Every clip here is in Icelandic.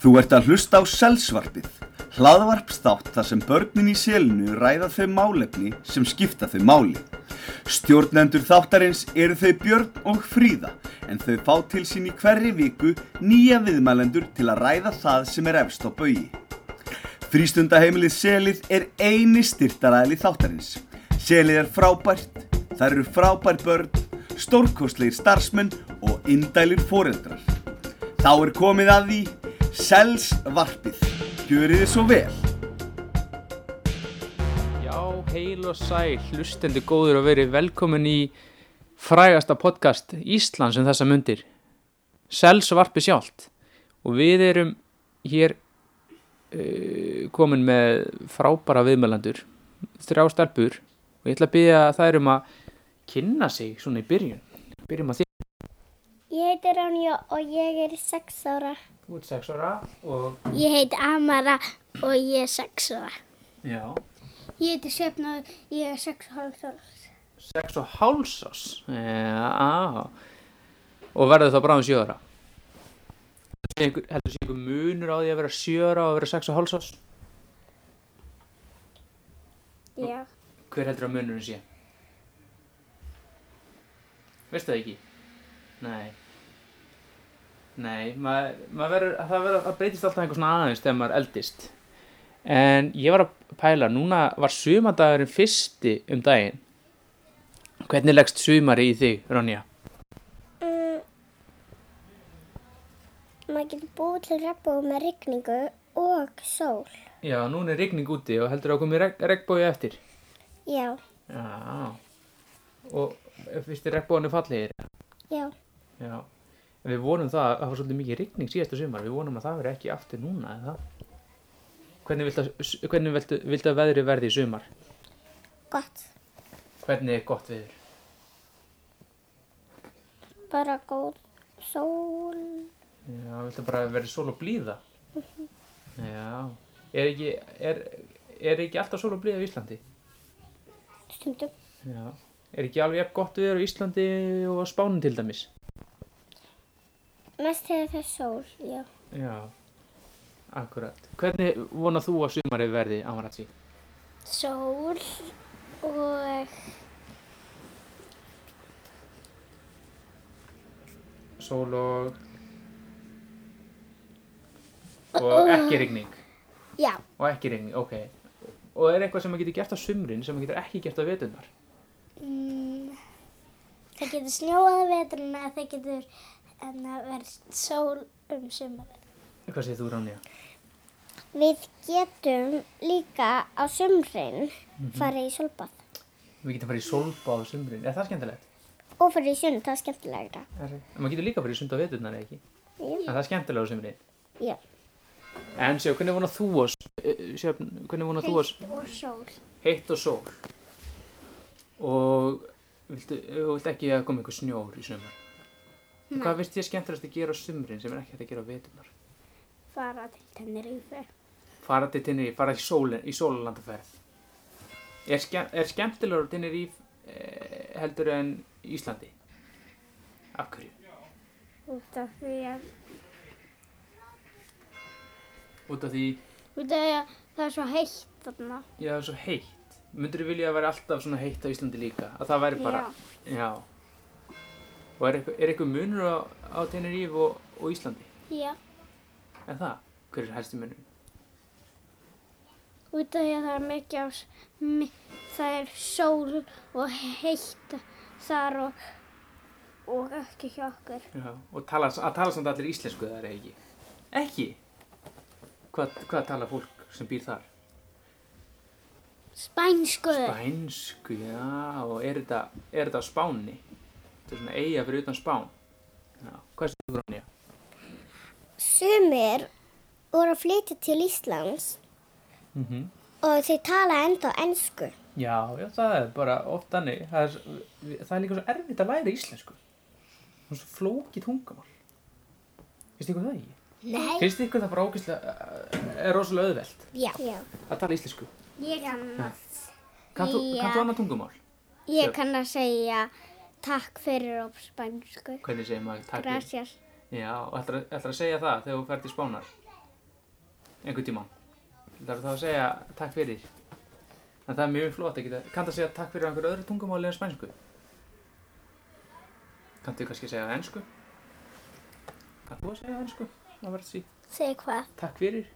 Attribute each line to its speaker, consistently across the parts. Speaker 1: Þú ert að hlusta á Selsvarpið, hlaðvarpstátt þar sem börnin í selinu ræða þau málefni sem skipta þau máli. Stjórnendur þáttarins eru þau Björn og Fríða, en þau fá til sín í hverri viku nýja viðmælendur til að ræða það sem er efst á bögi. Frístundaheimilið Selið er eini styrtaræðli þáttarins. Selið er frábært, það eru frábær börn, stórkostlegir starfsmenn og indælir foreldrar. Þá er komið að því Selsvarpið. Gjörið þið svo vel.
Speaker 2: Já, heil og sæl, hlustendur góður og verið velkomin í frægasta podcast Íslands um þessa mundir, Selsvarpi sjálft og við erum hér uh, komin með frábara viðmælandur, þrjá stelpur og ég ætla að byggja þær um að kynna sig svona í byrjun, byrjum að því.
Speaker 3: Ég heiti Ránja og ég er 6 ára.
Speaker 2: Þú ert sex ára og...
Speaker 3: Ég heiti Amara og ég er 6 ára.
Speaker 2: Já.
Speaker 3: Ég heiti Svefna og ég er 6 og hálf ára.
Speaker 2: Sex og hálsás, já, og verður þá bráðum sjö ára. Sé einhver- Heldur þessi einhver munur á því að vera sjö ára og að vera sex og hálsás?
Speaker 3: Já.
Speaker 2: Hver heldur að munurinn sé? Veistu það ekki? Nei. Nei, maður, maður verður, það, verður, það breytist alltaf einhver svona aðeins þegar maður eldist. En ég var að pæla, núna var sumardagurinn fyrsti um daginn. Hvernig leggst sumari í þig, Ronja?
Speaker 3: Um, maður getur búið til regnbóð með rigningu og sól.
Speaker 2: Já, núna er rigning úti og heldur að komið reg regnbói eftir.
Speaker 3: Já,
Speaker 2: Já. Og fyrst er regnbóinu fallegir.
Speaker 3: já.
Speaker 2: Já. En við vonum það, það var svolítið mikið rigning síðasta sumar, við vonum að það veri ekki aftur núna, eða það? Hvernig viltu, að- s- hvernig viltu, viltu að veðrið verði í sumar?
Speaker 3: Gott.
Speaker 2: Hvernig er gott veður?
Speaker 3: Bara góð sól.
Speaker 2: Já, viltu bara verið sól og blíða? Mhm. Já. Er ekki, er, er ekki alltaf sól og blíða á Íslandi?
Speaker 3: Stundum.
Speaker 2: Já. Er ekki alveg jafn gott veður á Íslandi og á Spánin til dæmis?
Speaker 3: Mest þegar það er sól, já.
Speaker 2: Já. Akkurat. Hvernig vonar þú að sumarið verði, Amaratsi?
Speaker 3: Sól og
Speaker 2: Sól og... Og ekki rigning.
Speaker 3: já,
Speaker 2: Og ekki regning, ok. Og er eitthvað sem maður getur gert á sumrin sem maður getur ekki gert á veturnar?
Speaker 3: Mm, það getur snjóað að veturinn að það getur en að vera sól um sumarið.
Speaker 2: Hvað segir þú, Ránja?
Speaker 3: Við getum líka á sumrin farið í sólbað
Speaker 2: Við getum farið í solba á sumrin. Er það skemmtilegt?
Speaker 3: og farið í sund, það er skemmtilegra.
Speaker 2: En maður getur líka farið í sund á veturnar, eða ekki?
Speaker 3: Já.
Speaker 2: En það er skemmtilega á sumrin.
Speaker 3: Já.
Speaker 2: En séu, hvernig vonar þú oss? Sjöfn, hvernig vonar þú oss?
Speaker 3: og sól.
Speaker 2: Heitt og sól. Og viltu, og viltu ekki að koma einhver snjór í sumar? Og Hvað finnst þér skemmtilegast að gera á sumrin sem er ekki hægt að gera á veturnar?
Speaker 3: Fara til Tenerife.
Speaker 2: fara til Tenerife, fara í, sólin, í sólalandaferð. Er, skemm, er skemmtilegur á Tenerife eh, heldur en Íslandi? Af hverju?
Speaker 3: Út af því að,
Speaker 2: Út af því,
Speaker 3: út af því að það er svo heitt þarna.
Speaker 2: já, það er svo heitt. Myndur þú vilja að vera alltaf svona heitt á Íslandi líka? Að það væri bara, já. Og er, eitthvað- er eitthvað munur á, á Tenerife og, og Íslandi?
Speaker 3: Já.
Speaker 2: En það, hver er helstu munur?
Speaker 3: Út af því að það er mikið á, s- mi- það er sól og heitt þar og, og ekki hjá okkur.
Speaker 2: Já, og tala, að tala samt allir íslensku þar eða ekki? Ekki? Hvað, hvað tala fólk sem býr þar?
Speaker 3: Spænsku.
Speaker 2: Spænsku, já, og er þetta, er þetta á Spáni? Þetta er svona eiga fyrir utan Spán. Já, hvað er þetta Rónja?
Speaker 3: Sumir voru að flytja til Íslands
Speaker 2: Mm -hmm.
Speaker 3: og þeir tala enda á ennsku.
Speaker 2: Já, já, það er bara oft þannig. Það er, við- það er líka svo erfitt að læra íslensku. Það er svo flókið tungamál. Finnst ykkur það ekki?
Speaker 3: Nei.
Speaker 2: Finnst ykkur það bara ógeðslega, eh, er rosalega auðvelt
Speaker 3: Já. Já.
Speaker 2: að tala íslensku?
Speaker 3: Ég kannast.
Speaker 2: Kanntu,
Speaker 3: Já.
Speaker 2: kanntu annað tungumál?
Speaker 3: Ég kann að segja takk fyrir á spænsku.
Speaker 2: Hvernig segir maður takk? fyrir?
Speaker 3: Gracias.
Speaker 2: Já, og ætlar að segja það þegar þú ferð til Spánar? einhvern tímann. Það er þá að segja takk fyrir. En það er mjög flott að geta, kanntu að segja takk fyrir á einhverju öðru tungumáli en spænsku? Kanntu kannski að segja á ensku? Kanntu að segja á ensku? Það verður því.
Speaker 3: Segðu hvað?
Speaker 2: Takk fyrir.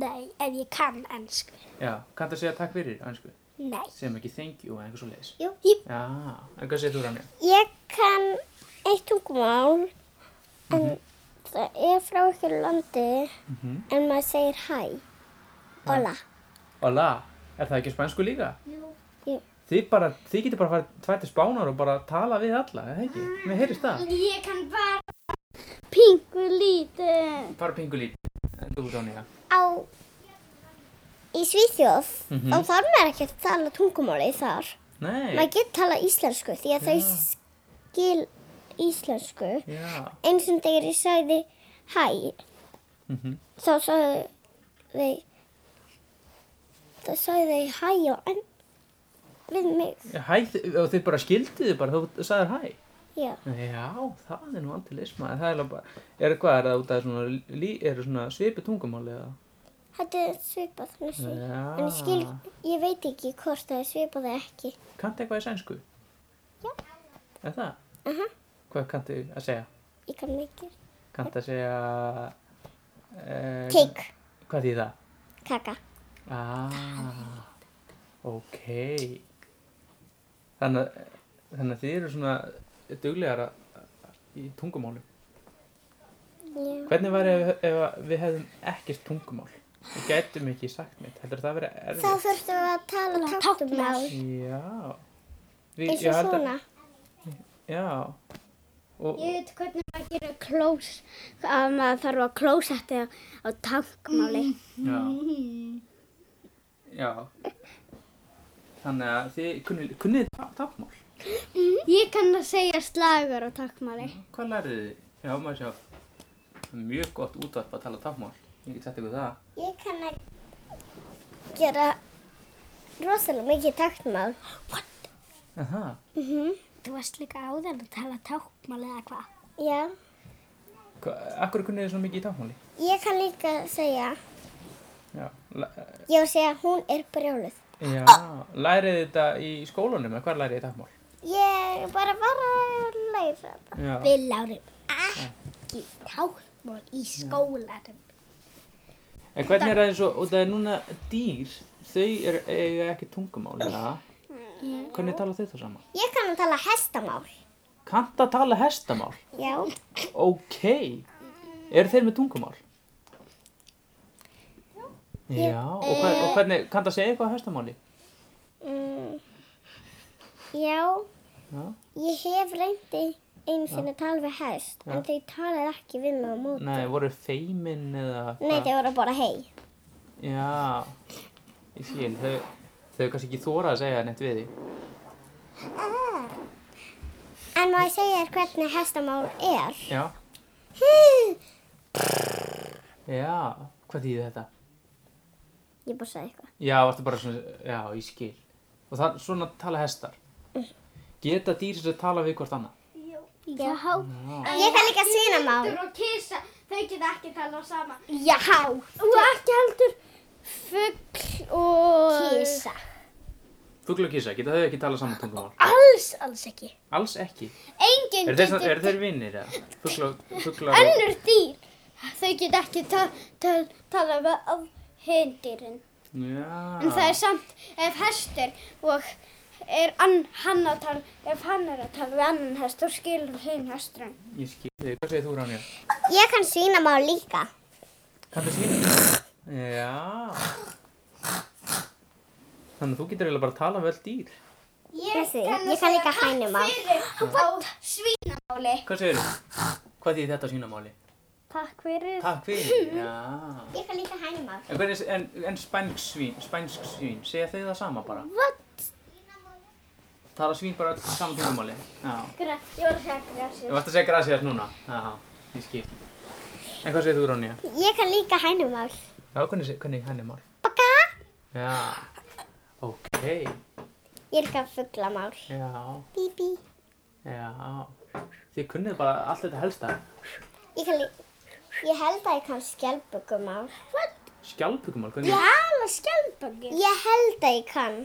Speaker 3: Nei, ef ég kann ennsku.
Speaker 2: Já, kanntu að segja takk fyrir á ensku?
Speaker 3: Nei.
Speaker 2: Segjum ekki thank you eða einhver svo leiðis.
Speaker 3: Jú, ég,
Speaker 2: Já, en hvað segir þú Rannja?
Speaker 3: ég kann eitt tungumál, en það er frá ykkur landi,
Speaker 2: Mhm.
Speaker 3: en maður segir hæ. Hola.
Speaker 2: Hola, er það ekki á spænsku líka?
Speaker 3: Jú.
Speaker 2: Þið, bara, þið getur bara farið tvær til spánar og bara tala við alla, eða ekki? Mér heyrist það.
Speaker 3: Ég kann bara pingu lítið.
Speaker 2: Bara pingu lítið. En þú Rannja?
Speaker 3: Á, í Svíþjóð,
Speaker 2: Mhm.
Speaker 3: þá þarf maður ekki að tala tungumáli þar.
Speaker 2: Nei.
Speaker 3: Maður getur tala íslensku því að þau skil íslensku.
Speaker 2: Já.
Speaker 3: Eins og þegar ég sagði hæ,
Speaker 2: Mm
Speaker 3: þá sagði þau, þá sagði þau hæ og enn við mig.
Speaker 2: Hæ, þi- og þið bara skildiðu bara, þú sagðir hæ.
Speaker 3: Já,
Speaker 2: Já, það er nú antilisma, en það er alveg bara, er hvað, er það út af svona, lí, er það svona svipi tungumáli eða?
Speaker 3: þetta er svipað næstu.
Speaker 2: Já.
Speaker 3: En ég skil, ég veit ekki hvort það er svipað eða ekki.
Speaker 2: Kanntu eitthvað í sænsku? Já. Er það?
Speaker 3: Aha.
Speaker 2: Hvað kanntu að segja?
Speaker 3: Ég kann mikið.
Speaker 2: Kanntu að segja... Eh,
Speaker 3: Cake,
Speaker 2: Hvað þýð það?
Speaker 3: kaka.
Speaker 2: Ah, ok. Þannig að, þannig að þið eru svona duglegar að- í tungumáli.
Speaker 3: Já.
Speaker 2: Hvernig var ef, ef að við hefðum ekkert tungumál? Við gætum ekki sagt mitt, heldur það að vera
Speaker 3: Þá
Speaker 2: erfið?
Speaker 3: þurftum við að tala tátumál.
Speaker 2: Já. Við,
Speaker 3: Eins
Speaker 2: ég
Speaker 3: og
Speaker 2: held að-
Speaker 3: svona.
Speaker 2: Já. Og,
Speaker 3: Ég veit hvernig maður gerir klós, að maður þarf að klósetti á, á tankmáli.
Speaker 2: já. Já. Þannig að þið kunnið, kunnið tá- táknmál.
Speaker 3: Mhm. Ég kann að segja slagur á tankmáli.
Speaker 2: Hvað lærið þið? Já, maður sjá. það er Mjög gott útvarp að tala táknmál. Ég get sett ykkur það.
Speaker 3: Ég kann að gera rosalega mikið Mhm. tankmál.
Speaker 2: Aha.
Speaker 3: Þú varst líka áðan að tala tankmáli eða hvað? Já,
Speaker 2: Hva, akkur kunnið þið svona mikið í táknmáli?
Speaker 3: ég kann líka að segja,
Speaker 2: Já. La,
Speaker 3: ég var að segja hún er brjáluð.
Speaker 2: já. Lærið þið þetta í skólanum eða hvað lærið þið táknmál?
Speaker 3: Ég bara var að læra það. Ah.
Speaker 2: Já.
Speaker 3: Við lárum ekki tankmál í skólanum.
Speaker 2: En hvernig er það eins og, og það er núna dýr, þau er, eiga ekki tungumál, er það? Hvernig tala þau þá saman?
Speaker 3: Ég kann að tala hestamál.
Speaker 2: Kant að tala hestamál?
Speaker 3: Já.
Speaker 2: Ok. Eru þeir með tungumál? Já, og, hver, og hvernig, kanntu að segja eitthvað á hestamáli?
Speaker 3: Mm, já,
Speaker 2: Já.
Speaker 3: ég hef reyndi einu sinni að tala við hest, en þau talaði ekki við mig á móti.
Speaker 2: Nei, voru feimin eða
Speaker 3: Nei, þau voru bara hei.
Speaker 2: Já, ég skil, þau, þau kannski ekki þóra að segja neitt við því.
Speaker 3: En má ég segja þér hvernig hestamál er?
Speaker 2: Já, já, hvað þýði þetta?
Speaker 3: ég bara sagði eitthvað.
Speaker 2: Já, varstu bara svona, já, ég skil. Og það, svona tala hestar. Geta dýr sem tala við hvort annað?
Speaker 3: Já.
Speaker 2: Já,
Speaker 3: Ég kann líka svínamál.
Speaker 4: og kissa, þau geta ekki tala saman.
Speaker 3: Já.
Speaker 4: Og ekki heldur fuggl og...
Speaker 3: Kísa.
Speaker 2: fugl og kísa, geta þau ekki tala saman tungumál?
Speaker 4: Alls, alls ekki.
Speaker 2: Alls ekki.
Speaker 4: Engin
Speaker 2: Er þeir, svona- eru þeir vinnir eða? Fugl og, fugl og...
Speaker 4: önnur dýr. Þau geta ekki ta ta tala við af hindýrin. En það
Speaker 2: Já,
Speaker 4: er samt ef hestur og er ann, hann að tala, ef hann er að tala við annan hest, þá skilur hinn hesturinn.
Speaker 2: ég skil þig. Hvað segir þú, Ránja?
Speaker 3: Ég kann svínamál líka.
Speaker 2: Kanntu svína? Já. Þannig að þú getur eiginlega bara að tala vel dýr.
Speaker 3: Þessi, ég kann líka hænumál.
Speaker 4: Fyrir á svínamáli.
Speaker 2: Hvað segir þú? Hvað þýðir þetta á svínamáli?
Speaker 4: Takk fyrir.
Speaker 2: Takk fyrir. Já.
Speaker 3: Ég kann líka hænumál.
Speaker 2: En, hvernig, en, en spænsk svín, spænsk svín, segja þau það sama bara?
Speaker 4: What?
Speaker 2: Tala svín bara öll saman svínamáli? Já.
Speaker 4: Gra- Ég var að segja græsir.
Speaker 2: Þú vart að segja grasiðast núna? Já, ég skil. En hvað segir þú, Ránja?
Speaker 3: Ég kann líka hænumál.
Speaker 2: Já, hvernig, se- hvernig hann er mál? Baka! Já, ok,
Speaker 3: Ég er líka fugglamál.
Speaker 2: já,
Speaker 3: Bíbí.
Speaker 2: já. Þið kunnið bara allt þetta helsta.
Speaker 3: Ég kann líka... Ég held að ég kann skjálpugumál.
Speaker 2: Skjálpugumál, hvernig?
Speaker 3: Tala skjálpagi.
Speaker 4: Ég held að ég kann.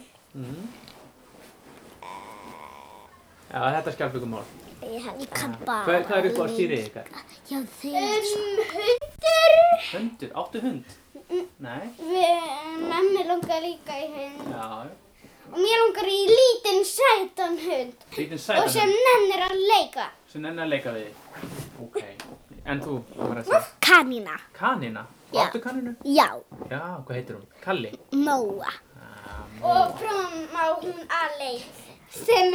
Speaker 2: Já, þetta er skjálpugumál.
Speaker 4: Ég held að.
Speaker 2: Hvað, hvað er upp á stýrið ykkar?
Speaker 3: Já, þeir.
Speaker 4: Um, hundur.
Speaker 2: Hundur, áttu hund? Nei,
Speaker 4: Við, mammi langar líka í hund.
Speaker 2: já, já.
Speaker 4: Og mér langar í lítinn sætan hund.
Speaker 2: lítinn
Speaker 4: Og
Speaker 2: sætan
Speaker 4: sem nennir að leika.
Speaker 2: hund sem nenni að leika við. þig. Ok, en þú, Marissa?
Speaker 3: Kanína.
Speaker 2: Kanina?
Speaker 4: Já.
Speaker 2: Áttu kaninu?
Speaker 3: Já,
Speaker 2: Já, hvað heitir hún? Kalli? Um,
Speaker 3: móa.
Speaker 4: Og prófum á hún að leik.
Speaker 3: Sem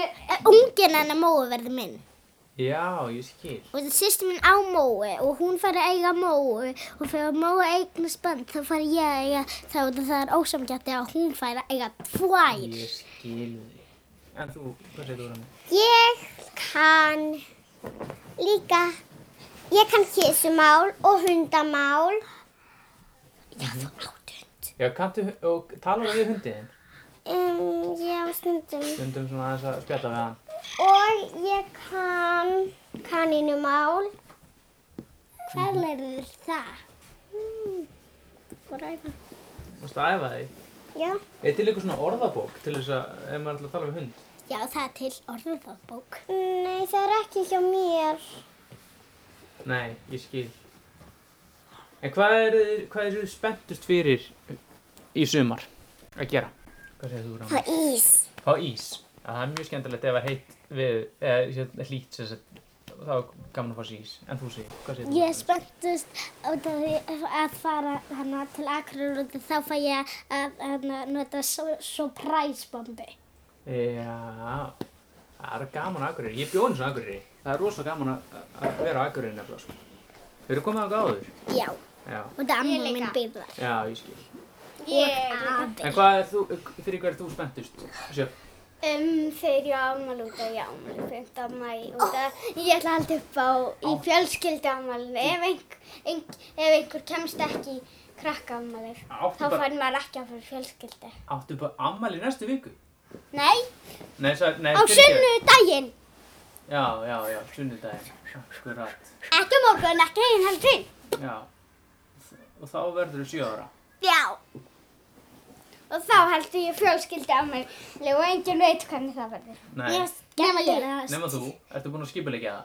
Speaker 3: unginn hennar móa verður minn.
Speaker 2: Já, ég skil.
Speaker 3: Og sýstu mín á móu og hún fari að eiga móu og þegar móa eignast band þá fari ég að eiga þá er það er ósamgætti að hún fari að eiga tvær.
Speaker 2: Ég skil þig. En þú, hvað segir þú um? rann?
Speaker 4: Ég kann líka. Ég kann kísumál og hundamál.
Speaker 2: Já, kanntu hu- og talar við hundin?
Speaker 4: Um, já, stundum.
Speaker 2: Stundum svona aðeins að spjalla við hann.
Speaker 4: Og ég kann kanínumál.
Speaker 3: Hvað lærður það? Hmm.
Speaker 4: Bara eitthvað.
Speaker 2: Mástu að æfa þig.
Speaker 4: Já.
Speaker 2: Er til eitthvað svona orðabók til þess að, ef maður ætlar að tala við hund?
Speaker 3: Já, það er til orðabók.
Speaker 4: Nei, það er ekki hjá mér.
Speaker 2: Nei, ég skil. En hvað er, hvað er þið spenntust fyrir í sumar að gera? Hvað segir þú rann?
Speaker 4: Það er ís.
Speaker 2: Fá ís. Já, það er mjög skemmtilegt ef að heitt við, eða hérna, hlýtt sem sagt, þá er gaman að fá sér ís. En þú segir, hvað segir þú? um
Speaker 3: Ég spenntust út af því að fara hana, til Akurur og þá fæ ég að hana, nota so- surprise-bombi.
Speaker 2: Já, það er gaman að Akureyri. Ég bjóði eins og Akureyri. Það er rosalega gaman að- að vera á Akureyri nefnilega, sko. Þau eru komið að gáður.
Speaker 3: Já,
Speaker 2: Já,
Speaker 3: og það
Speaker 4: Ég
Speaker 3: amma
Speaker 4: líka.
Speaker 3: minn býr þar.
Speaker 2: já, ég skil.
Speaker 4: Ég.
Speaker 2: En hvað er þú, fyrir hvað er þú spenntust? Sjö,
Speaker 4: Um, þegar ég á afmæli út af ég á afmæli 15. mæ út af ég ætla að halda upp á í fjölskyldu afmælinu ef, einhver- ein, ef einhver kemst ekki í krakka afmæli þá
Speaker 2: áttu bara,
Speaker 4: fær maður ekki að fara í fjölskyldu.
Speaker 2: áttu bara ammali næstu viku?
Speaker 4: Nei,
Speaker 2: Nei, svo, nei,
Speaker 4: á
Speaker 2: fyrirgefðu.
Speaker 4: sunnudaginn,
Speaker 2: Já, já, já, sunnudaginn. Akkurat,
Speaker 4: ekki á morgun, ekki einn helginn.
Speaker 2: já. Og þá verður þú sjö ára.
Speaker 4: Já. Og þá heldur ég fjölskyldu afmæli og enginn veit hvernig það verður.
Speaker 2: Nei,
Speaker 4: Nema ég.
Speaker 2: nema þú, ertu búin að skipulegja það?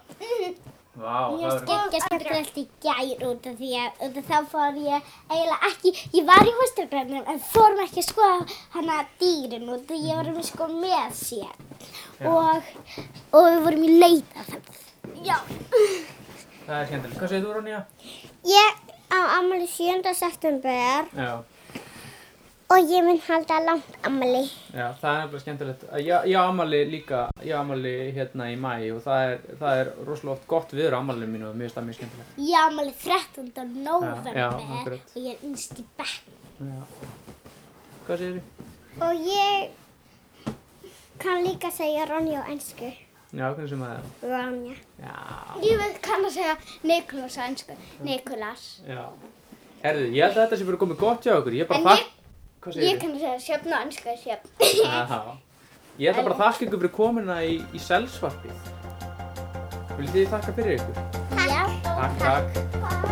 Speaker 2: Vá, það verður
Speaker 3: Ég er skemmtilegt í gær út af því að út af þá fór ég eiginlega ekki, ég var í hústurgrænum en fórum ekki að skoða hana dýrin út af því ég var um sko með sér
Speaker 2: Já.
Speaker 3: og, og við vorum í leita þannig.
Speaker 4: Já.
Speaker 2: Það er skemmtilegt. Hvað segir þú, Ronja?
Speaker 4: Ég á afmæli 7. september
Speaker 2: Já.
Speaker 4: og ég mun halda langt afmæli.
Speaker 2: Já, það er nefnilega skemmtilegt. Ég, ég á amali líka, ég á amali hérna í mæ og það er, það er rosalega oft gott viður amalið mínu og mér finnst það mjög skemmtilegt.
Speaker 3: Ég ámali 13.
Speaker 2: Já, já,
Speaker 3: november
Speaker 2: akkurat.
Speaker 3: og ég er yngst í bekk.
Speaker 2: Já. Hvað segir þið?
Speaker 4: Og ég kann líka segja Ronja á ennsku.
Speaker 2: Já, hvernig sem að það er?
Speaker 4: Ronja.
Speaker 2: Já.
Speaker 4: Ég vil kann að segja Nikolas á ennsku. Nikolas.
Speaker 2: Já. Herðu, ég held að þetta sé bara komið gott hjá okkur. Ég bara
Speaker 4: En
Speaker 2: þakk... Hvað segir
Speaker 4: Ég kann að segja sjöfn á ennsku, sjöfn.
Speaker 2: Já. Ég ætla bara að þakka ykkur fyrir komina í, í selsvarpið. Viljið þið þakka fyrir ykkur?
Speaker 4: Já.
Speaker 2: Takk, takk.
Speaker 4: Takk.